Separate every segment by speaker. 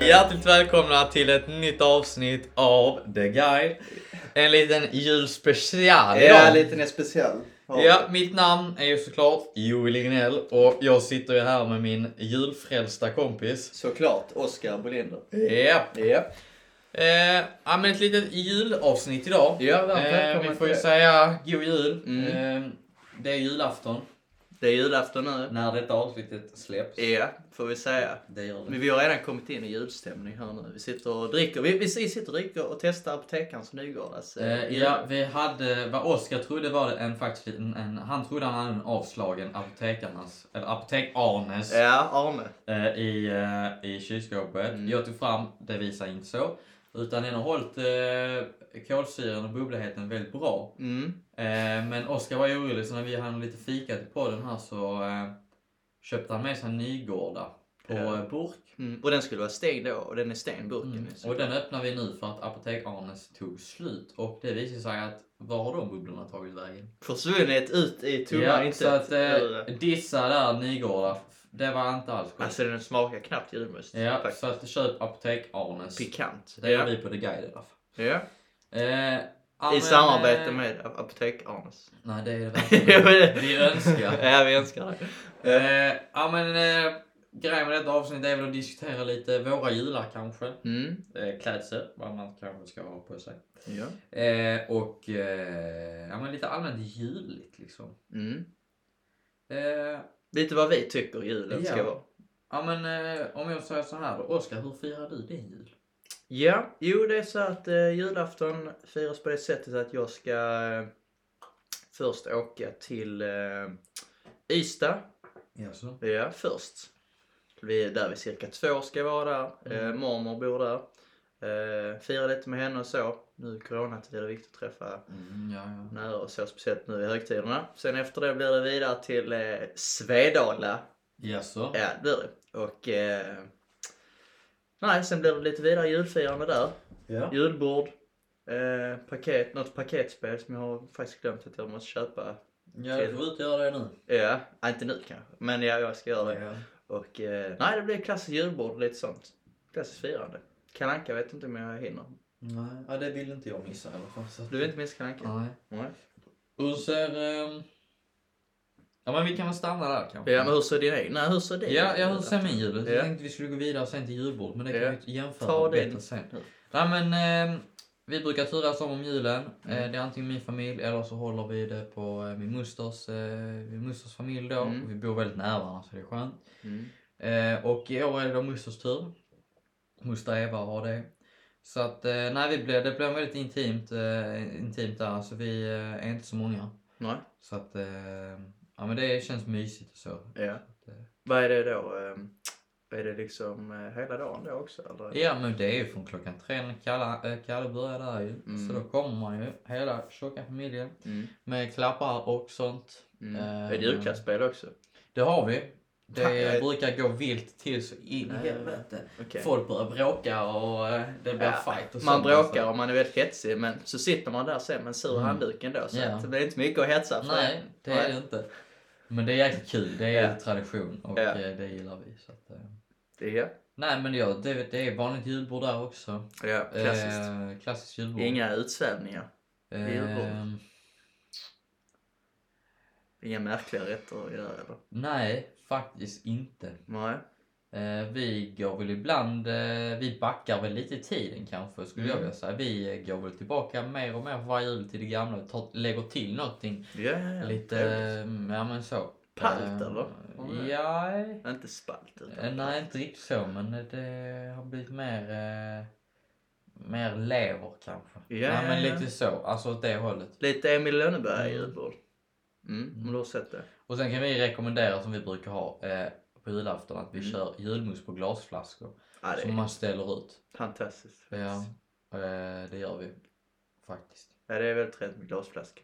Speaker 1: Hjärtligt välkomna till ett nytt avsnitt av The Guide. En liten julspecial
Speaker 2: Ja,
Speaker 1: idag.
Speaker 2: lite mer speciell.
Speaker 1: Ja, mitt namn är ju såklart Joel Lignell och jag sitter ju här med min julfrälsta kompis.
Speaker 2: Såklart, Oskar Bolinder.
Speaker 1: Japp.
Speaker 2: Ja.
Speaker 1: Eh, ja, men ett litet julavsnitt idag.
Speaker 2: Ja, varmt
Speaker 1: eh,
Speaker 2: välkommen
Speaker 1: vi får ju
Speaker 2: till det.
Speaker 1: säga god jul.
Speaker 2: Mm.
Speaker 1: Eh, det är julafton
Speaker 2: Det är julafton nu.
Speaker 1: när detta avsnittet släpps.
Speaker 2: Ja, får vi säga.
Speaker 1: Det gör det.
Speaker 2: Men vi har redan kommit in i julstämning här nu. Vi sitter och dricker, vi, vi sitter och dricker och testar apotekarens Nygårdas.
Speaker 1: Eh, ja, vi hade vad Oskar trodde var det en faktiskt en, en, han trodde han hade en avslagen apotekarnas, eller apotek-Arnes
Speaker 2: ja, Arne.
Speaker 1: eh, i, eh, i kylskåpet.
Speaker 2: Mm.
Speaker 1: Jag tog fram, det visar inte så, utan den har hållit eh, kolsyran och bubbligheten väldigt bra.
Speaker 2: Mm.
Speaker 1: Eh, men Oskar var orolig så när vi hann lite fika till podden här så eh, köpte han med sig en Nygårda på
Speaker 2: Ja.
Speaker 1: eh, burk.
Speaker 2: Mm. Och den skulle vara stängd då och den är stängd burken.
Speaker 1: Mm.
Speaker 2: nu, så-
Speaker 1: Och den öppnar vi nu för att Apotek-Arnes tog slut och det visade sig att var har de bubblorna tagit vägen?
Speaker 2: Försvunnit ut i tunnan.
Speaker 1: Ja,
Speaker 2: inte
Speaker 1: så att
Speaker 2: ur-
Speaker 1: eh, dissa där Nygårda, det var inte alls gott.
Speaker 2: Alltså den smakar knappt julmust.
Speaker 1: ja,
Speaker 2: Faktiskt.
Speaker 1: så att köp Apotek Arnes.
Speaker 2: Pikant.
Speaker 1: Det gör vi på The Guide i alla fall.
Speaker 2: ja.
Speaker 1: Eh, ja,
Speaker 2: I
Speaker 1: men,
Speaker 2: samarbete
Speaker 1: eh,
Speaker 2: med Apotek-Arnes.
Speaker 1: Nej, det är det verkligen. Vi önskar.
Speaker 2: ja, vi önskar det.
Speaker 1: Eh, ja, men eh, grejen med detta avsnitt är väl att diskutera lite våra jular kanske.
Speaker 2: Mm.
Speaker 1: Eh, klädsel, vad man kanske ska ha på sig.
Speaker 2: Ja.
Speaker 1: Eh, och eh, ja, men lite allmänt juligt liksom.
Speaker 2: Mm.
Speaker 1: Eh,
Speaker 2: Lite vad vi tycker julen
Speaker 1: Ja.
Speaker 2: ska vara.
Speaker 1: ja, men eh, om jag säger så här då. Oskar, hur firar du din jul?
Speaker 2: Ja, jo det är så att eh, julafton firas på det sättet att jag ska eh, först åka till eh, Ystad.
Speaker 1: Jaså?
Speaker 2: Ja, Eh, först. Vi är där vi cirka två ska vara där. Eh,
Speaker 1: Mm.
Speaker 2: mormor bor där. Eh, fira lite med henne och så. Nu i coronatid är det viktigt att träffa
Speaker 1: Mm, ja, ja.
Speaker 2: nära och så, speciellt nu i högtiderna. Sen efter det blir det vidare till eh, Svedala.
Speaker 1: Jaså?
Speaker 2: Ja, det blir det. Och... Eh, nej, sen blir det lite vidare julfirande där.
Speaker 1: Ja.
Speaker 2: Julbord, eh, paket, något paketspel som jag har faktiskt glömt att jag måste köpa.
Speaker 1: Ja, du får ut och göra det nu.
Speaker 2: Ja, ja, inte nu kanske, men ja, jag ska göra det. Och eh, nej, det blir klassiskt julbord och lite sånt. Klassiskt firande. Kalanka vet inte om jag hinner.
Speaker 1: Nej, ja, det vill inte jag missa i alla fall. Så. att-
Speaker 2: Du vill inte missa Kalanka?
Speaker 1: Nej.
Speaker 2: Nej.
Speaker 1: Hur ser... ehm, Ja, men vi kan väl stanna där kanske.
Speaker 2: Ja, men hur ser din egen? Nej, hur ser din?
Speaker 1: Ja, ja, hur
Speaker 2: ut?
Speaker 1: ser min jul ut? Jag
Speaker 2: Ja.
Speaker 1: tänkte vi skulle gå vidare sen till julbord, men det kan
Speaker 2: Ja.
Speaker 1: vi ju jämföra
Speaker 2: Ta
Speaker 1: bättre
Speaker 2: din.
Speaker 1: sen. Nej, men ehm, vi brukar turas om om julen.
Speaker 2: Mm.
Speaker 1: Eh, Det är antingen min familj eller så håller vi det på eh, min musters, eh, min musters familj då.
Speaker 2: Mm.
Speaker 1: Och vi bor väldigt nära varandra så det är skönt.
Speaker 2: Mm.
Speaker 1: Eh, och i år är det då musters tur. Musta Eva har det. Så att, eh, nej, vi blev, det blev väldigt intimt, eh, intimt där, så vi eh, är inte så många.
Speaker 2: Nej.
Speaker 1: Så att, eh, ja men det känns mysigt och så.
Speaker 2: Ja.
Speaker 1: eh,
Speaker 2: Vad är det då? ehm, Är det liksom eh, hela dagen då också? Eller?
Speaker 1: Ja men det är ju från klockan tre när Kalle, eh, Kalle börjar där ju.
Speaker 2: Mm.
Speaker 1: Så då kommer man ju, hela tjocka familjen.
Speaker 2: Mm.
Speaker 1: Med klappar och sånt.
Speaker 2: Mm.
Speaker 1: Eh,
Speaker 2: är det julklappsspel också?
Speaker 1: Det har vi.
Speaker 2: Fan,
Speaker 1: Det
Speaker 2: jag-
Speaker 1: brukar gå vilt till så in i
Speaker 2: Nej.
Speaker 1: helvete.
Speaker 2: Okej.
Speaker 1: Folk börjar bråka och eh, det blir
Speaker 2: Ja,
Speaker 1: fight och
Speaker 2: Man
Speaker 1: sånt. alltså.
Speaker 2: bråkar och man är väldigt hetsig men så sitter man där sen med en sur
Speaker 1: Mm.
Speaker 2: handduk ändå så
Speaker 1: Ja.
Speaker 2: att det blir inte mycket att hetsa för.
Speaker 1: Nej, det är det inte. Men det är jäkligt kul. Det är
Speaker 2: Ja.
Speaker 1: tradition och
Speaker 2: Ja.
Speaker 1: eh, det gillar vi. Så att, eh.
Speaker 2: Det är
Speaker 1: Nej men ja, det, det är vanligt julbord där också.
Speaker 2: ja, klassiskt.
Speaker 1: Eh, klassiskt julbord.
Speaker 2: Inga utsvävningar,
Speaker 1: Eh,
Speaker 2: julbord. inga märkliga rätter att göra eller?
Speaker 1: nej, faktiskt inte.
Speaker 2: Nej.
Speaker 1: Eh, vi går väl ibland, eh, vi backar väl lite i tiden kanske skulle jag
Speaker 2: Mm.
Speaker 1: vilja säga. Vi eh, går väl tillbaka mer och mer för varje jul till det gamla och tar, lägger till någonting.
Speaker 2: Ja, ja, ja.
Speaker 1: Lite,
Speaker 2: Trevligt.
Speaker 1: eh, ja men så.
Speaker 2: Palt,
Speaker 1: Eh,
Speaker 2: eller? Har vi det?
Speaker 1: Ja,
Speaker 2: Inte spalt utan
Speaker 1: Eh, Nej, inte riktigt så, men det har blivit mer, eh, mer lever kanske.
Speaker 2: Ja,
Speaker 1: Nej, men
Speaker 2: ja, ja.
Speaker 1: lite så, alltså åt det hållet.
Speaker 2: Lite Emil Lönneberg
Speaker 1: Mm.
Speaker 2: julbord. Mm, om du har sett det.
Speaker 1: Och sen kan vi rekommendera som vi brukar ha eh, på julafton att vi
Speaker 2: Mm.
Speaker 1: kör julmust på glasflaskor
Speaker 2: Ja, det
Speaker 1: som
Speaker 2: är
Speaker 1: man ställer ut.
Speaker 2: fantastiskt.
Speaker 1: Ja,
Speaker 2: faktiskt.
Speaker 1: eh, det gör vi faktiskt.
Speaker 2: ja, det är väldigt trevligt med glasflaska.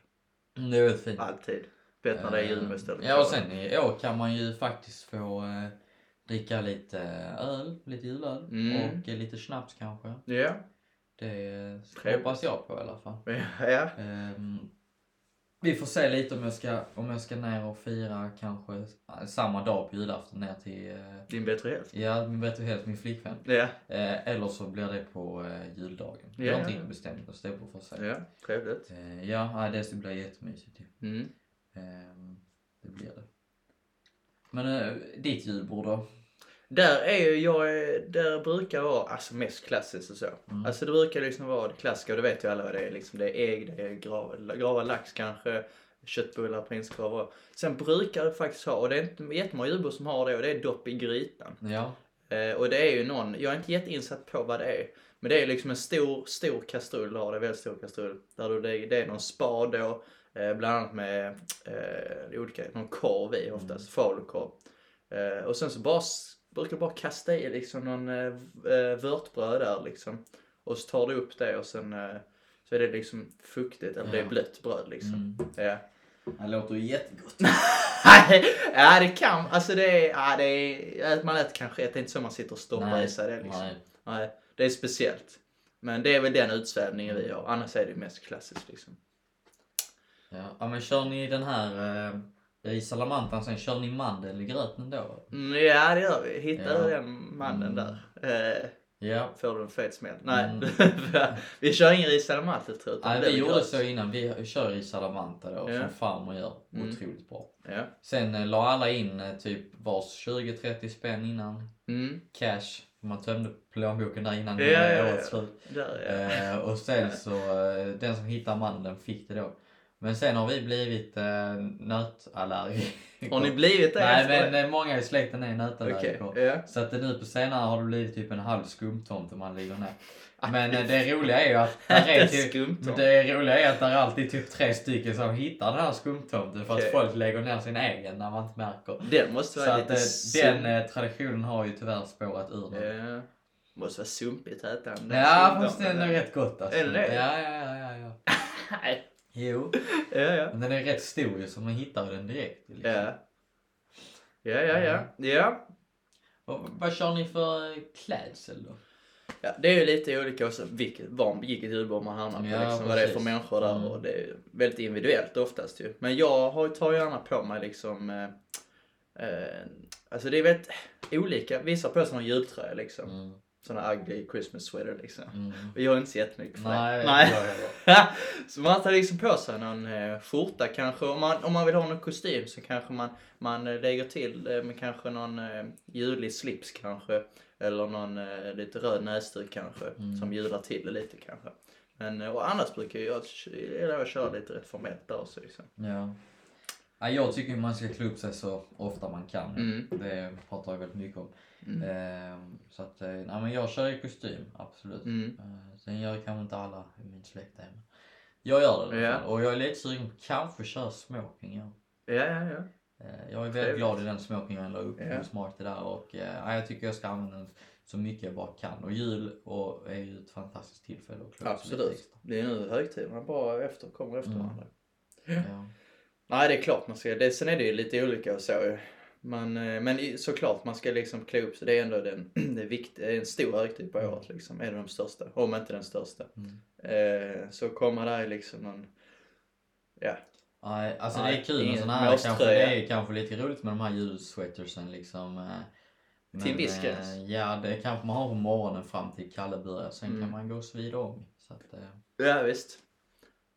Speaker 1: Mm, Det är väldigt fint.
Speaker 2: Alltid. Bättre när det är
Speaker 1: Eh,
Speaker 2: julmust eller
Speaker 1: Ja, och
Speaker 2: korv.
Speaker 1: sen i år kan man ju faktiskt få eh, dricka lite öl, lite julöl
Speaker 2: Mm.
Speaker 1: och eh, lite snaps kanske.
Speaker 2: Ja.
Speaker 1: Det eh,
Speaker 2: Trevligt.
Speaker 1: hoppas jag på i alla fall.
Speaker 2: Ja.
Speaker 1: Ehm, Vi får se lite om jag ska, om jag ska ner och fira kanske eh, samma dag på julafton ner till eh,
Speaker 2: Din bättre hälft.
Speaker 1: Ja, min bättre hälft, min flickvän.
Speaker 2: Ja,
Speaker 1: Eh, eller så blir det på eh, juldagen. Vi
Speaker 2: Ja,
Speaker 1: har
Speaker 2: ja,
Speaker 1: inte
Speaker 2: ja.
Speaker 1: riktigt bestämt oss, det får vi se.
Speaker 2: ja trevligt.
Speaker 1: Eh, ja, nej, det blir jättemysigt ju.
Speaker 2: Mm.
Speaker 1: Ehm, det blir det. Men eh, ditt julbord då?
Speaker 2: Där är ju jag, där brukar vara alltså mest klassiskt och så.
Speaker 1: Mm.
Speaker 2: Alltså det brukar liksom vara det klassiska och det vet ju alla vad det är. Liksom det är ägg, det är grava, grava lax kanske, köttbullar, prinskorvar. Sen brukar det faktiskt ha, och det är inte jättemånga julbord som har det, och det är dopp i grytan.
Speaker 1: Ja,
Speaker 2: Eh, och det är ju någon, jag är inte jätteinsatt på vad det är. Men det är liksom en stor, stor kastrull, har det är väldigt stor kastrull. Där du, det, det är någon spa då, eh, bland annat med eh, olika, någon korv i oftast,
Speaker 1: Mm.
Speaker 2: falukorv. Eh, och sen så bara, s- brukar du bara kasta i liksom någon eh, v- eh, vörtbröd där liksom. Och så tar du upp det och sen eh, så är det liksom fuktigt, eller det är
Speaker 1: Ja.
Speaker 2: blött bröd liksom.
Speaker 1: mm.
Speaker 2: Ja.
Speaker 1: det låter ju jättegott.
Speaker 2: ja det kan, alltså det är, ja, det är man äter kanske, det är inte så man sitter och stoppar i sig det liksom.
Speaker 1: Nej.
Speaker 2: Nej, det är speciellt. Men det är väl den utsvävningen vi har. Annars är det ju mest klassiskt liksom.
Speaker 1: Ja. ja, men kör ni den här eh, i salamantan sen, kör ni mandeln i gröten då?
Speaker 2: Mm, ja, det gör vi. Hittar du
Speaker 1: Ja. Mm.
Speaker 2: den mannen där eh,
Speaker 1: Ja.
Speaker 2: får du en fet smäll. Nej,
Speaker 1: Mm.
Speaker 2: vi kör ingen risade mantel tror jag. utan
Speaker 1: Nej,
Speaker 2: det är
Speaker 1: vi
Speaker 2: väl
Speaker 1: gjorde
Speaker 2: gröt.
Speaker 1: så innan. Vi kör i salamanta då,
Speaker 2: Ja.
Speaker 1: som farmor gör.
Speaker 2: Mm.
Speaker 1: Otroligt bra.
Speaker 2: Ja.
Speaker 1: Sen eh, la alla in eh, typ vars 20-30 spänn innan.
Speaker 2: Mm,
Speaker 1: Cash. Man tömde plånboken där innan
Speaker 2: Ja,
Speaker 1: eh,
Speaker 2: ja, ja.
Speaker 1: årets slut.
Speaker 2: där ja.
Speaker 1: Eh, och sen så, eh, den som hittar mandeln fick det då. Men sen har vi blivit eh, nötallergiker.
Speaker 2: Har ni blivit det
Speaker 1: Nej
Speaker 2: efter
Speaker 1: men
Speaker 2: det?
Speaker 1: eh, många i släkten är
Speaker 2: Okej,
Speaker 1: nötallergiker.
Speaker 2: ja.
Speaker 1: Så att det nu på senare har det blivit typ en halv skumtomte man ligger ner. Men eh, det roliga är ju att där är
Speaker 2: Det
Speaker 1: typ,
Speaker 2: skumt.
Speaker 1: men det roliga är att det är alltid typ tre stycken som hittar den här skumtomten för
Speaker 2: Okej.
Speaker 1: att folk lägger ner sin egen när man inte märker.
Speaker 2: Den måste
Speaker 1: Så
Speaker 2: vara
Speaker 1: att
Speaker 2: lite
Speaker 1: eh,
Speaker 2: sump-
Speaker 1: den eh, traditionen har ju tyvärr spårat ur nu.
Speaker 2: Ja. Måste vara sumpigt att äta den.
Speaker 1: Ja
Speaker 2: skumtomten.
Speaker 1: fast den är rätt gott alltså.
Speaker 2: Är det det?
Speaker 1: Ja, ja, ja, ja, ja.
Speaker 2: Nej.
Speaker 1: Jo.
Speaker 2: Ja, ja.
Speaker 1: Men den är rätt stor ju så man hittar den direkt. Liksom.
Speaker 2: Ja. Ja, ja, ja. Ja,
Speaker 1: Och, vad kör ni för eh, klädsel då?
Speaker 2: Ja, det är ju lite olika också vilket, var, vilket julbord man hamnar på.
Speaker 1: Ja,
Speaker 2: liksom, vad det är för
Speaker 1: precis.
Speaker 2: människor där
Speaker 1: Mm.
Speaker 2: och det är ju väldigt individuellt oftast ju. Men jag har, tar gärna på mig liksom... Eh, eh, alltså det är väldigt olika. Vissa har på sig någon jultröja liksom.
Speaker 1: Mm.
Speaker 2: Sådana ugly Christmas sweater liksom.
Speaker 1: Mm.
Speaker 2: Och jag är inte så jättemycket för det.
Speaker 1: Nej,
Speaker 2: Nej.
Speaker 1: jag gör det.
Speaker 2: så man tar liksom på sig någon eh, skjorta kanske. Om man, om man vill ha någon kostym så kanske man, man eh, lägger till eh, med kanske någon eh, julig slips kanske. Eller någon eh, lite röd näsduk kanske.
Speaker 1: Mm.
Speaker 2: Som jular till det lite kanske. Men eh, och annars brukar jag, jag, jag köra lite rätt formellt där också. Liksom.
Speaker 1: Ja. Ja, jag tycker man ska klä upp sig så ofta man kan.
Speaker 2: Mm.
Speaker 1: Det pratar jag väldigt mycket om.
Speaker 2: Mm.
Speaker 1: Ehm, så att, eh, nej, men jag kör i kostym, absolut.
Speaker 2: Mm.
Speaker 1: Eh, sen gör kanske inte alla i min släkt det. men Jag gör det i alla
Speaker 2: Ja.
Speaker 1: fall. Och jag är lite sugen på kanske köra smoking. Ja.
Speaker 2: Ja, ja, ja.
Speaker 1: Eh, jag är väldigt
Speaker 2: Trevligt.
Speaker 1: glad i den smokingen jag la upp
Speaker 2: Ja.
Speaker 1: på Smart där. Och, eh, ja, jag tycker jag ska använda den så mycket jag bara kan. Och jul och är ju ett fantastiskt tillfälle att klä upp sig lite
Speaker 2: Absolut.
Speaker 1: extra.
Speaker 2: Det är nu högtiderna bara efter, kommer efter
Speaker 1: Mm.
Speaker 2: varandra.
Speaker 1: Ja.
Speaker 2: Nej, det är klart man ska. Det, sen är det ju lite olika och så ju. Men, eh, men i- såklart man ska liksom klä upp sig. Det är ändå den, det är vikt, det är en stor högtid på året liksom. En av de största, om inte den största.
Speaker 1: Mm.
Speaker 2: Eh, så kommer där liksom någon, ja.
Speaker 1: Nej, alltså det
Speaker 2: Nej,
Speaker 1: är kul
Speaker 2: ingen
Speaker 1: med såna här. Kanske,
Speaker 2: måste-tröja.
Speaker 1: det är kanske lite roligt med de här julsweatersen liksom. eh, Men,
Speaker 2: Till en viss
Speaker 1: eh,
Speaker 2: gräns.
Speaker 1: Ja, det kanske man har på morgonen fram till Kalle börjar. Sen
Speaker 2: Mm.
Speaker 1: kan man gå och svida om. Så att, eh,
Speaker 2: Ja visst.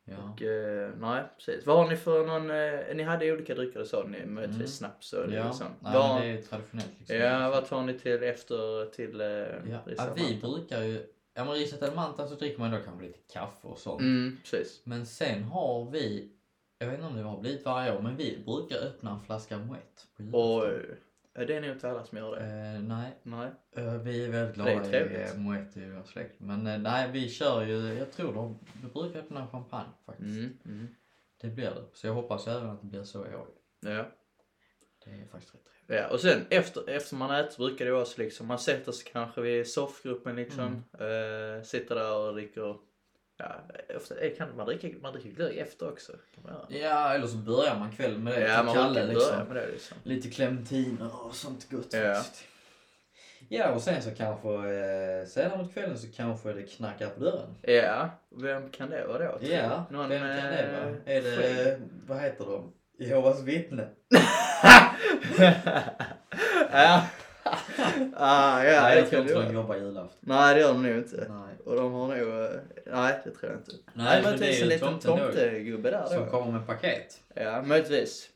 Speaker 1: ja.
Speaker 2: Och, eh, nej, precis. Vad har ni för någon, eh, ni hade olika drycker det sa ni, möjligtvis
Speaker 1: Mm.
Speaker 2: snaps och
Speaker 1: ja.
Speaker 2: liksom.
Speaker 1: Nej,
Speaker 2: vad, Mm.
Speaker 1: men det är ju traditionellt liksom.
Speaker 2: ja, vad tar ni till efter, till eh,
Speaker 1: ja.
Speaker 2: risamma?
Speaker 1: Ja, vi brukar ju... Ja, men riset eller mantan så dricker man då kanske lite kaffe och sånt.
Speaker 2: Mm, precis.
Speaker 1: Men sen har vi... Jag vet inte om det har blivit varje år, men vi brukar öppna en flaska Moët på
Speaker 2: Och,
Speaker 1: julafton.
Speaker 2: eh, det är nog inte alla som gör det.
Speaker 1: Eh, nej,
Speaker 2: Mm. Nej.
Speaker 1: Eh, Vi är väldigt
Speaker 2: Det är
Speaker 1: glada i
Speaker 2: trevligt.
Speaker 1: eh, Moët i vår släkt. Men eh, nej, vi kör ju, jag tror de vi brukar öppna champagne faktiskt.
Speaker 2: Mm, mm.
Speaker 1: Det blir det. Så jag hoppas även att det blir så i år.
Speaker 2: Ja.
Speaker 1: Det är faktiskt rätt trevligt.
Speaker 2: ja, och sen efter, efter man äter så brukar det vara så liksom, man sätter sig kanske vid soffgruppen liksom.
Speaker 1: Mm.
Speaker 2: Eh, sitter där och dricker. Ja, ofta, eh, kan man dricker man dricker glögg efter också. Kan man göra.
Speaker 1: Ja, eller så börjar man kvällen med det.
Speaker 2: Ja,
Speaker 1: till
Speaker 2: man
Speaker 1: Kalle,
Speaker 2: brukar
Speaker 1: liksom.
Speaker 2: börja med det liksom.
Speaker 1: Lite clementiner och sånt gott
Speaker 2: Ja.
Speaker 1: faktiskt. Ja, och sen så kanske eh, senare på kvällen så kanske det knackar på dörren.
Speaker 2: Ja, vem kan det vara då? tror du?
Speaker 1: Ja,
Speaker 2: Någon,
Speaker 1: vem kan det
Speaker 2: eh,
Speaker 1: vara? Är det, vad heter de? Jehovas vittne?
Speaker 2: ja. ah, ja,
Speaker 1: Nej,
Speaker 2: det
Speaker 1: jag tror
Speaker 2: kan
Speaker 1: inte de
Speaker 2: det vara.
Speaker 1: jobbar julafton.
Speaker 2: Nej, det gör de nog inte.
Speaker 1: Nej.
Speaker 2: Och de har nog... eh, Nej, det tror jag inte.
Speaker 1: Nej, men det
Speaker 2: möjligtvis
Speaker 1: är
Speaker 2: en
Speaker 1: ju
Speaker 2: liten
Speaker 1: tomten då ju,
Speaker 2: tomtegubbe där
Speaker 1: som
Speaker 2: då.
Speaker 1: kommer med paket.
Speaker 2: Ja, möjligtvis.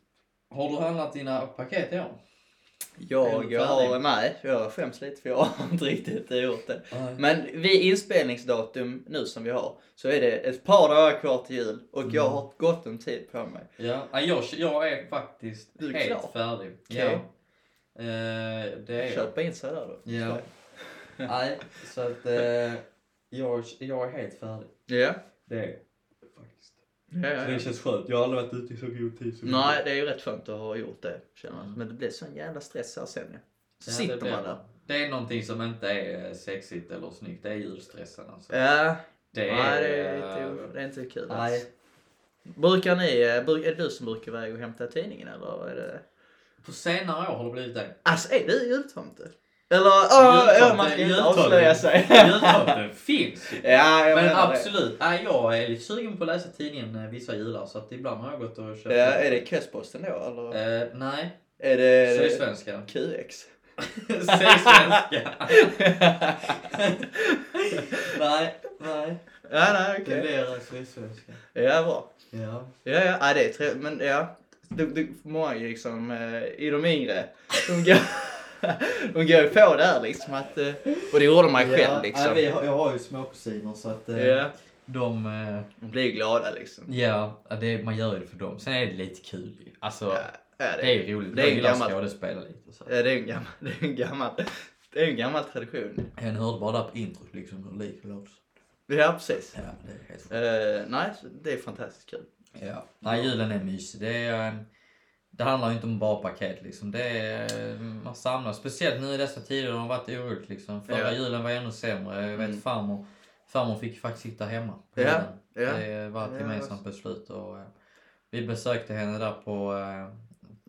Speaker 1: Har du handlat dina paket i år? Är
Speaker 2: Jag,
Speaker 1: du
Speaker 2: jag har...
Speaker 1: färdig?
Speaker 2: Nej, jag skäms lite för jag har inte riktigt eh, gjort det.
Speaker 1: Nej.
Speaker 2: Men vid inspelningsdatum nu som vi har så är det ett par dagar kvar till jul och
Speaker 1: Mm.
Speaker 2: jag har gott om tid på mig.
Speaker 1: Ja, nej, jag, jag är faktiskt
Speaker 2: Du är
Speaker 1: helt
Speaker 2: klar.
Speaker 1: färdig.
Speaker 2: Okej.
Speaker 1: Ja. Eh, det är jag.
Speaker 2: Köpa in sig där då.
Speaker 1: Ja. Nej, så att eh, jag, jag är helt färdig.
Speaker 2: Ja.
Speaker 1: Det är jag faktiskt.
Speaker 2: Ja,
Speaker 1: Så
Speaker 2: ja, ja.
Speaker 1: det känns skönt. Jag har aldrig varit ute i så god tid som
Speaker 2: Nej, det är ju rätt skönt att ha gjort det känner jag.
Speaker 1: Mm.
Speaker 2: Men det blir sån jävla stress här sen ja.
Speaker 1: Ja, det
Speaker 2: Så sitter
Speaker 1: blir
Speaker 2: man
Speaker 1: det.
Speaker 2: där.
Speaker 1: Det är någonting som inte är eh, sexigt eller snyggt. Det är julstressen alltså.
Speaker 2: Ja,
Speaker 1: Det
Speaker 2: Eh, nej,
Speaker 1: är...
Speaker 2: det, är inte,
Speaker 1: eh,
Speaker 2: det är inte kul alls.
Speaker 1: Nej.
Speaker 2: Brukar ni, eh, bruk- är det du som brukar iväg och hämta tidningen eller? Är det...
Speaker 1: På senare år har det blivit det.
Speaker 2: Alltså är du jultomte? Eller, åh, åh, Ah, man ska inte
Speaker 1: Jultomte,
Speaker 2: avslöja sig.
Speaker 1: Jultomten finns ju.
Speaker 2: Ja, jag
Speaker 1: Men
Speaker 2: menar det.
Speaker 1: absolut, nej, jag är lite sugen på att läsa tidningen eh, vissa jular så att ibland har jag gått och köpt
Speaker 2: Ja, är det Kvällsposten då eller?
Speaker 1: Eh, nej,
Speaker 2: Är det...
Speaker 1: sydsvenska.
Speaker 2: QX?
Speaker 1: Sydsvenska. nej, nej.
Speaker 2: ja, nej,
Speaker 1: Det
Speaker 2: okej.
Speaker 1: blir sydsvenska.
Speaker 2: Ja, bra.
Speaker 1: Ja.
Speaker 2: Ja, ja, ja det är trevligt. Men ja, du, du, många liksom, eh, i de yngre, de går, de går ju på där liksom att, eh, och det gjorde man själv
Speaker 1: Ja,
Speaker 2: liksom.
Speaker 1: nej, vi har, jag har ju småkusiner så att eh,
Speaker 2: Ja,
Speaker 1: de... Eh,
Speaker 2: de blir ju glada liksom.
Speaker 1: ja, det, man gör ju det för dem. Sen är det lite kul ju. Alltså,
Speaker 2: Ja, ja,
Speaker 1: det är ju roligt.
Speaker 2: det
Speaker 1: Det
Speaker 2: är
Speaker 1: är
Speaker 2: en
Speaker 1: jag gillar
Speaker 2: gammal-
Speaker 1: att skådespela lite. Så.
Speaker 2: ja, det är en gammal, det är en gammal, det är en gammal tradition.
Speaker 1: Jag hörde bara där på introt liksom hur lik det låter.
Speaker 2: Ja, precis.
Speaker 1: Ja, det är helt
Speaker 2: Eh, nej, så det är fantastiskt kul.
Speaker 1: Ja. Nej, julen är mysig. Det, är, eh, det handlar ju inte om bara paket liksom. Det är, eh, man samlas. Speciellt nu i dessa tider, det har varit oroligt liksom. Förra
Speaker 2: Ja.
Speaker 1: julen var ännu sämre. Jag vet
Speaker 2: Mm.
Speaker 1: farmor, farmor fick ju faktiskt sitta hemma. på
Speaker 2: Ja,
Speaker 1: julen.
Speaker 2: ja.
Speaker 1: Det var ett
Speaker 2: Ja,
Speaker 1: gemensamt beslut och eh, vi besökte henne där på, eh,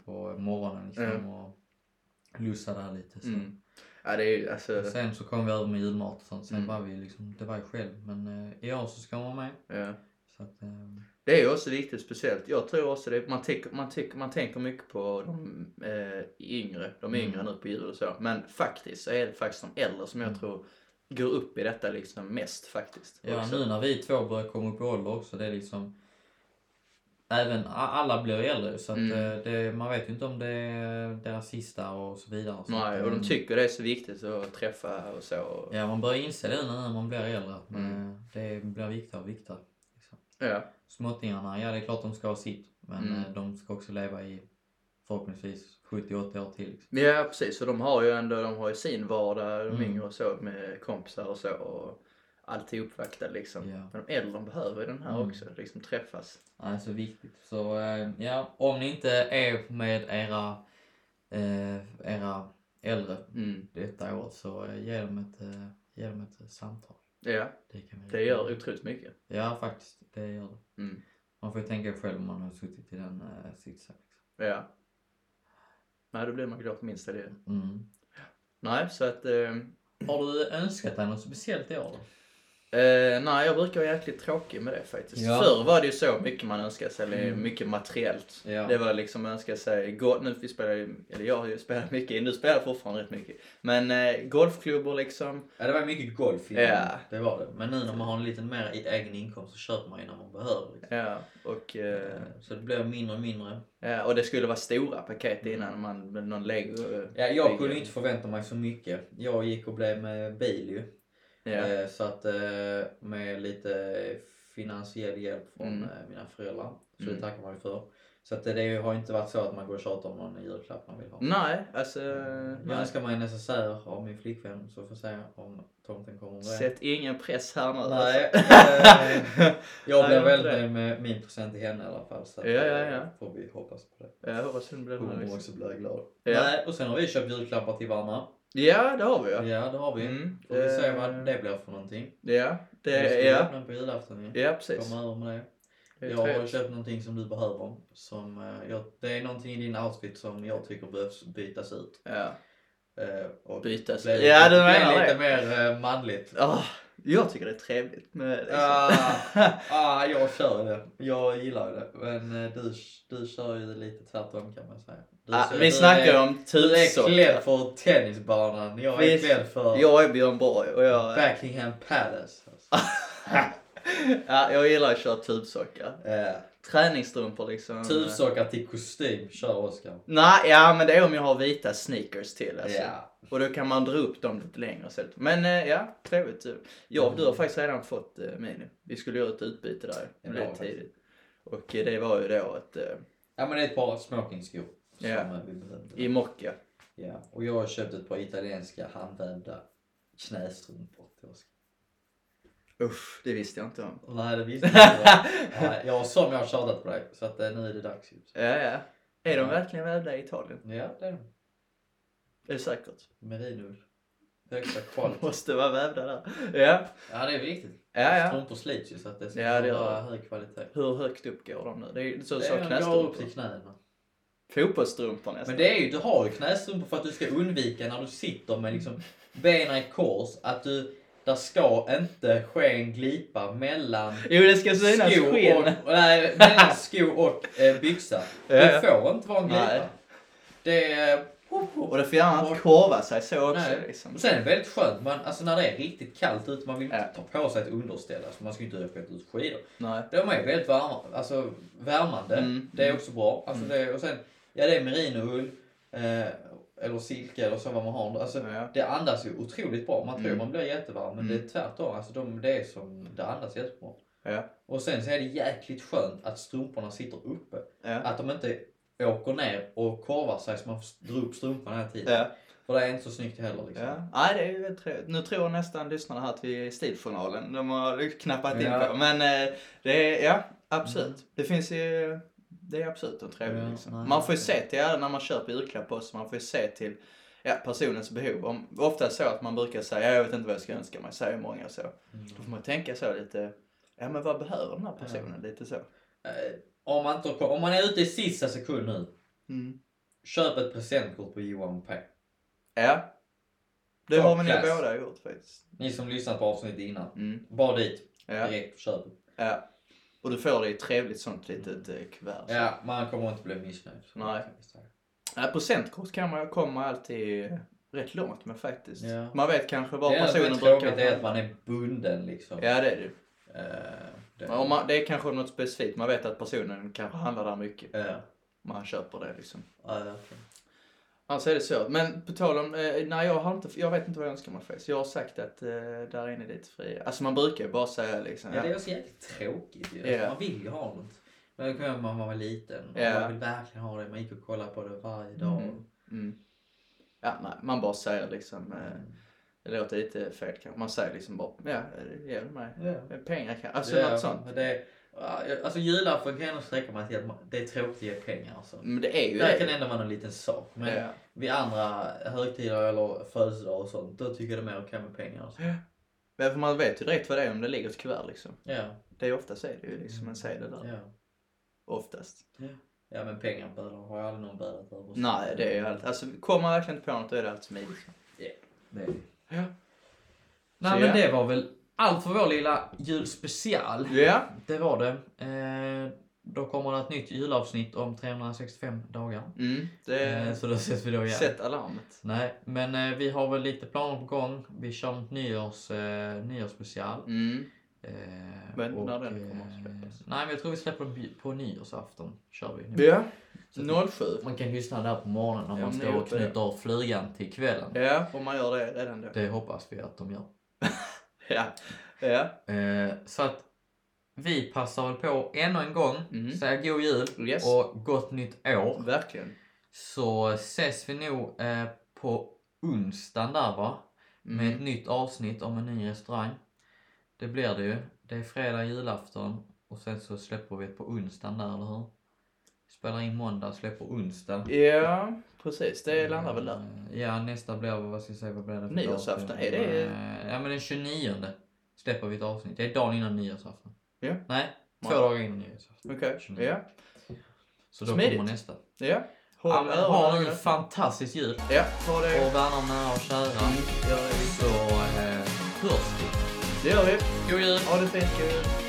Speaker 1: på morgonen liksom och lussade där lite. Så.
Speaker 2: Mm. Ja, det är ju alltså,
Speaker 1: Sen så kom vi över med julmat och sånt. Sen
Speaker 2: Mm.
Speaker 1: var vi liksom, det var jag själv. Men eh, i år så ska man vara med.
Speaker 2: ja.
Speaker 1: Så att, ehm,
Speaker 2: Det är ju också viktigt speciellt. Jag tror också det, man, tänker, man, tänker, man tänker mycket på de eh, yngre, de
Speaker 1: Mm.
Speaker 2: yngre nu på jul och så. Men faktiskt så är det faktiskt de äldre som jag
Speaker 1: Mm.
Speaker 2: tror går upp i detta liksom mest faktiskt.
Speaker 1: Ja,
Speaker 2: också.
Speaker 1: nu när vi två börjar komma upp i ålder också, det är liksom... Även a- alla blir äldre så att
Speaker 2: Mm.
Speaker 1: eh, det, man vet ju inte om det är deras sista och så vidare. Så
Speaker 2: Nej,
Speaker 1: att,
Speaker 2: och de
Speaker 1: eh,
Speaker 2: tycker det är så viktigt att träffa och så. Ja.
Speaker 1: Ja, man börjar inse det nu när man blir äldre. Att man,
Speaker 2: Mm.
Speaker 1: eh, Det blir viktigare och viktigare. Liksom.
Speaker 2: Ja.
Speaker 1: Småttingarna, ja det är klart de ska ha sitt. Men
Speaker 2: Mm.
Speaker 1: eh, de ska också leva i förhoppningsvis 70-80 år till. Liksom.
Speaker 2: precis. Och de har ju ändå de har ju sin vardag, de
Speaker 1: Mm.
Speaker 2: yngre och så, med kompisar och så. Och alltid uppvaktade liksom.
Speaker 1: Ja.
Speaker 2: Men de äldre de behöver ju den här
Speaker 1: Mm.
Speaker 2: också, liksom träffas.
Speaker 1: Nej, så viktigt. Så eh, ja, om ni inte är med era, eh, era äldre
Speaker 2: Mm.
Speaker 1: detta år så eh, ge dem ett, eh, ge dem ett eh, samtal.
Speaker 2: Ja,
Speaker 1: Det, kan vi
Speaker 2: det gör otroligt mycket.
Speaker 1: Ja, faktiskt. Det gör det.
Speaker 2: Mm.
Speaker 1: Man får ju tänka själv om man har suttit i den eh, sitsen. Liksom.
Speaker 2: Ja. Nej, då blir man glad på minsta det.
Speaker 1: Mm.
Speaker 2: Nej, så att... Eh,
Speaker 1: Har du önskat dig något speciellt i år? då?
Speaker 2: eh, nej, jag brukar vara jäkligt tråkig med det faktiskt.
Speaker 1: Ja.
Speaker 2: Förr var det ju så mycket man önskade sig, eller
Speaker 1: Mm.
Speaker 2: mycket materiellt.
Speaker 1: Ja.
Speaker 2: Det var liksom önska sig, go- nu vi spelar ju- eller jag har ju spelat mycket, nu spelar jag fortfarande rätt mycket. Men eh, golfklubbor liksom.
Speaker 1: Ja, det var mycket golf
Speaker 2: innan. Ja.
Speaker 1: Det var det. Men nu när man har en lite mer i- egen inkomst så köper man ju när man behöver. Liksom.
Speaker 2: Ja, och, eh,
Speaker 1: Eh, Så det blir mindre och mindre.
Speaker 2: ja, och det skulle vara stora paket
Speaker 1: Mm.
Speaker 2: innan man, med någon lego.
Speaker 1: Ja, jag kunde ju inte förvänta mig så mycket. Jag gick och blev med bil ju.
Speaker 2: Ja.
Speaker 1: Eh, Så att eh, med lite finansiell hjälp från
Speaker 2: Mm.
Speaker 1: eh, mina föräldrar. Så
Speaker 2: Mm.
Speaker 1: det tackar man ju för. Så att det- det har ju inte varit så att man går och tjatar om någon julklapp man vill ha.
Speaker 2: Nej, alltså.
Speaker 1: Jag
Speaker 2: nej.
Speaker 1: önskar mig en necessär av min flickvän så får jag se om tomten kommer med.
Speaker 2: Sätt ingen press här nu.
Speaker 1: Nej, Eh,
Speaker 2: alltså.
Speaker 1: jag
Speaker 2: Nej,
Speaker 1: blev
Speaker 2: jag
Speaker 1: väldigt
Speaker 2: inte det.
Speaker 1: nöjd med min present till henne i alla fall. Så att,
Speaker 2: Ja, ja,
Speaker 1: eh,
Speaker 2: ja.
Speaker 1: får vi hoppas på det.
Speaker 2: Ja, jag hoppas hon blir
Speaker 1: Hon
Speaker 2: nöjd.
Speaker 1: kommer också bli glad.
Speaker 2: Ja.
Speaker 1: Nej, och sen har vi köpt julklappar till varandra.
Speaker 2: Ja, det har vi
Speaker 1: Ja,
Speaker 2: ju.
Speaker 1: det har vi.
Speaker 2: Mm.
Speaker 1: Får vi se
Speaker 2: Eh,
Speaker 1: vad det blir för någonting.
Speaker 2: Ja,
Speaker 1: vi ska
Speaker 2: det,
Speaker 1: ju
Speaker 2: ja,
Speaker 1: öppna på julafton ju.
Speaker 2: ja precis.
Speaker 1: Kom över med det.
Speaker 2: Det är
Speaker 1: Jag har
Speaker 2: trevligt.
Speaker 1: köpt någonting som du behöver. Som, eh, jag, det är någonting i din outfit som jag tycker behövs bytas ut.
Speaker 2: Ja.
Speaker 1: eh, och
Speaker 2: Byta
Speaker 1: blev-
Speaker 2: sig. Ja, du
Speaker 1: blev
Speaker 2: menar
Speaker 1: lite
Speaker 2: det.
Speaker 1: mer eh, manligt.
Speaker 2: Ah, jag tycker det är trevligt med liksom.
Speaker 1: Ah, ah, jag kör det. Jag gillar det. Men eh, du, du kör ju lite tvärtom kan man säga. Du,
Speaker 2: Ah,
Speaker 1: kör-
Speaker 2: vi snackar
Speaker 1: är,
Speaker 2: om
Speaker 1: Du är klädd
Speaker 2: tutsorter.
Speaker 1: för tennisbanan. Jag är
Speaker 2: Visst.
Speaker 1: klädd för
Speaker 2: Jag är Björn Borg och jag,
Speaker 1: Buckingham Palace. Alltså.
Speaker 2: ja, jag gillar att köra tubsockar.
Speaker 1: Eh,
Speaker 2: Träningsstrumpor liksom.
Speaker 1: Tubsockar till kostym kör Oskar.
Speaker 2: Nej, ja men det är om jag har vita sneakers till alltså.
Speaker 1: Ja.
Speaker 2: Och då kan man dra upp dem lite längre så. Men eh, ja, trevligt. Du. Jag
Speaker 1: Mm.
Speaker 2: och du har faktiskt redan fått eh, mini. Vi skulle göra ett utbyte där
Speaker 1: Ja,
Speaker 2: lite
Speaker 1: faktiskt.
Speaker 2: tidigt. Och eh, det var ju då ett, eh,
Speaker 1: ja men det är ett par smokingskor. Som
Speaker 2: Ja.
Speaker 1: eh, vi behövde.
Speaker 2: i mocka.
Speaker 1: Ja. Och jag har köpt ett par italienska handvävda knästrumpor till Oskar.
Speaker 2: Usch, det visste jag inte om.
Speaker 1: Nej det visste jag inte. Nej, jag har som jag har tjatat på dig. Så att, eh, nu är det dags. ju.
Speaker 2: Ja, ja. Är de
Speaker 1: Ja.
Speaker 2: verkligen vävda i Italien?
Speaker 1: Ja det är det.
Speaker 2: Är det säkert?
Speaker 1: Merinoull. Högsta
Speaker 2: De
Speaker 1: kvalitet.
Speaker 2: måste vara vävda där. Ja.
Speaker 1: Ja det är viktigt.
Speaker 2: Ja, ja.
Speaker 1: Strumpor slits ju så att det ska
Speaker 2: Ja, det gör
Speaker 1: vara hög kvalitet.
Speaker 2: Hur högt upp går de nu? Det är så,
Speaker 1: Det
Speaker 2: så
Speaker 1: är- går upp
Speaker 2: knästrumpor.
Speaker 1: till knäna.
Speaker 2: Fotbollsstrumpor
Speaker 1: Men
Speaker 2: nästan.
Speaker 1: det är ju, du har ju knästrumpor för att du ska undvika när du sitter med liksom benen i kors att du, där ska inte ske en glipa mellan
Speaker 2: Jo, det ska synas
Speaker 1: sko
Speaker 2: skinn.
Speaker 1: och, nej, mellan sko och eh, byxa.
Speaker 2: Ja, ja.
Speaker 1: Det får inte vara en glipa.
Speaker 2: Nej.
Speaker 1: Det är...
Speaker 2: Och det får gärna inte korva sig så också.
Speaker 1: Nej.
Speaker 2: Liksom.
Speaker 1: Och sen är det väldigt skönt, man, alltså när det är riktigt kallt ute, man vill inte
Speaker 2: Ja.
Speaker 1: ta på sig ett underställ, alltså man ska ju inte åka ut skidor.
Speaker 2: Nej.
Speaker 1: De är väldigt varma, alltså värmande.
Speaker 2: Mm.
Speaker 1: Det är också bra. Alltså det, och sen, ja det är merinoull eh, eller silke eller så vad man har. Alltså,
Speaker 2: Ja.
Speaker 1: Det andas ju otroligt bra. Man tror
Speaker 2: Mm.
Speaker 1: man blir jättevarm men
Speaker 2: Mm.
Speaker 1: det är tvärtom. Alltså de, det är som, det andas jättebra.
Speaker 2: Ja.
Speaker 1: Och sen så är det jäkligt skönt att strumporna sitter uppe.
Speaker 2: Ja.
Speaker 1: Att de inte åker ner och korvar sig så man får dra upp strumpan hela tiden.
Speaker 2: Ja.
Speaker 1: För det är inte så snyggt heller liksom.
Speaker 2: Ja. Nej, det är ju väldigt trevligt. Nu tror nästan lyssnarna här att vi är i stiljournalen. De har knappat in
Speaker 1: Ja. Mm.
Speaker 2: på. Men eh, det är, ja, absolut. Det finns ju, det är absolut en trevlig
Speaker 1: Ja,
Speaker 2: liksom.
Speaker 1: nej,
Speaker 2: Man får ju
Speaker 1: okej.
Speaker 2: se till, ja, när man köper julklapp på oss, man får ju se till ja, personens behov. Om, ofta så att man brukar säga, jag vet inte vad jag ska önska mig, säger många så.
Speaker 1: Mm.
Speaker 2: Då får man tänka så lite, ja men vad behöver den här personen? Lite så.
Speaker 1: Eh, Om, man inte, om man är ute i sista sekund nu,
Speaker 2: Mm.
Speaker 1: köp ett presentkort på Johan P.
Speaker 2: Ja. Det
Speaker 1: Top
Speaker 2: har vi nog
Speaker 1: class.
Speaker 2: båda gjort faktiskt.
Speaker 1: Ni som lyssnat på avsnittet innan,
Speaker 2: Mm.
Speaker 1: bara dit
Speaker 2: Ja.
Speaker 1: direkt och köp.
Speaker 2: Ja. Och du får det i ett trevligt sånt litet eh, kuvert. Ja.
Speaker 1: Mm. Ja, man kommer inte bli missnöjd.
Speaker 2: Nej. procentkort kan man, kommer man alltid rätt långt med faktiskt.
Speaker 1: Ja.
Speaker 2: Man vet kanske var
Speaker 1: Det enda som är
Speaker 2: personen
Speaker 1: tråkigt är att
Speaker 2: brukar...
Speaker 1: man är bunden liksom.
Speaker 2: Ja det är det.
Speaker 1: Eh, det-
Speaker 2: Men Om man, det är kanske något specifikt. Man vet att personen kanske handlar där mycket.
Speaker 1: Ja.
Speaker 2: Man köper det liksom.
Speaker 1: Ja, ja, okej.
Speaker 2: Alltså är det så. Men på tal om, eh, nej jag har inte, jag vet inte vad jag önskar mig faktiskt. Jag har sagt att eh, där inne är lite fria. Alltså man brukar ju bara säga liksom.
Speaker 1: Ja, det är också jäkligt tråkigt ju. Alltså,
Speaker 2: Ja.
Speaker 1: Man vill ju ha något. Men jag kommer ihåg när man var liten. och
Speaker 2: Ja.
Speaker 1: Man vill verkligen ha det. Man gick och kollade på det varje dag.
Speaker 2: Mm. Mm. Ja, nej, man bara säger liksom, eh, det låter lite fel kanske, man säger liksom bara, ja, ge det mig
Speaker 1: Ja.
Speaker 2: pengar kanske, alltså
Speaker 1: Ja,
Speaker 2: något sånt.
Speaker 1: men Det, ja, alltså julafton kan jag nog sträcka mig till att man, det är tråkigt att ge pengar. Alltså.
Speaker 2: Men det är ju
Speaker 1: Där
Speaker 2: det.
Speaker 1: kan det ändå vara någon liten sak. Men
Speaker 2: Mm. Ja.
Speaker 1: vid andra högtider eller födelsedagar och sånt, då tycker jag det är mer okej med pengar. Alltså.
Speaker 2: Men för man vet ju direkt vad det är om det ligger ett kuvert liksom.
Speaker 1: Ja,
Speaker 2: Det är oftast är det ju liksom en sedel
Speaker 3: Mm.
Speaker 2: där.
Speaker 1: ja.
Speaker 2: Oftast.
Speaker 1: ja, men pengar bölar har jag aldrig någon bölat över. så-
Speaker 2: Nej, det är ju allt. Alltså kommer man verkligen inte på något då är det allt smidigt.
Speaker 1: Det är-
Speaker 2: Ja.
Speaker 3: Nej
Speaker 2: Så
Speaker 3: men
Speaker 2: ja.
Speaker 3: det var väl allt för vår lilla julspecial.
Speaker 2: Ja,
Speaker 3: Det var det. Eh, då kommer det ett nytt julavsnitt om 365 dagar.
Speaker 2: mm,
Speaker 3: Eh,
Speaker 2: det...
Speaker 3: så då ses vi då igen.
Speaker 2: Sätt alarmet.
Speaker 3: Nej, men eh, vi har väl lite planer på gång. Vi kör ett nyårs, eh, nyårsspecial.
Speaker 2: Mm.
Speaker 3: Eh,
Speaker 2: Men när den
Speaker 3: eh,
Speaker 2: kommer att släppas.
Speaker 3: Nej, men jag tror vi släpper den på- på nyårsafton. Kör vi. nu.
Speaker 2: Ja.
Speaker 3: Så att-
Speaker 2: 07.
Speaker 3: Man kan lyssna där på morgonen när
Speaker 2: Ja,
Speaker 3: man
Speaker 2: men det
Speaker 3: står och
Speaker 2: låter det.
Speaker 3: knyter av flugan till kvällen.
Speaker 2: Ja, om man gör det redan då.
Speaker 3: Det hoppas vi att de gör.
Speaker 2: Ja. Ja.
Speaker 3: Eh, så att vi passar väl på ännu en gång.
Speaker 2: Mm.
Speaker 3: Säga god jul
Speaker 2: Yes.
Speaker 3: och gott nytt år.
Speaker 2: Verkligen.
Speaker 3: Så ses vi nog eh, på onsdagen där va?
Speaker 2: Mm.
Speaker 3: Med ett nytt avsnitt om en ny restaurang. Det blir det ju. Det är fredag julafton och sen så släpper vi på onsdagen där, eller hur? Spelar in måndag, släpper onsdag.
Speaker 2: Ja, precis. Det landar väl där.
Speaker 3: Eh, Ja, nästa blir, vad ska jag säga, vad blir det för
Speaker 2: Nyårsafton,
Speaker 3: datum?
Speaker 2: är det-
Speaker 3: Eh, Ja men den 29 släpper vi ett avsnitt. Det är dagen innan nyårsafton.
Speaker 2: Ja.
Speaker 3: Nej, två
Speaker 2: Ja.
Speaker 3: dagar innan nyårsafton.
Speaker 2: Okej.
Speaker 3: Tjugonio.
Speaker 2: Ja.
Speaker 3: Så då
Speaker 2: Smidigt.
Speaker 3: kommer nästa.
Speaker 2: ja.
Speaker 1: Ja,
Speaker 2: Håll
Speaker 1: men ha nu
Speaker 2: öronen
Speaker 1: en fantastisk jul
Speaker 2: Ja, ha det.
Speaker 1: och värna om nära och kära.
Speaker 2: Mm, gör det.
Speaker 1: Så eh, hörs vi.
Speaker 2: Det gör vi.
Speaker 1: God jul!
Speaker 2: Ha det fint. God jul.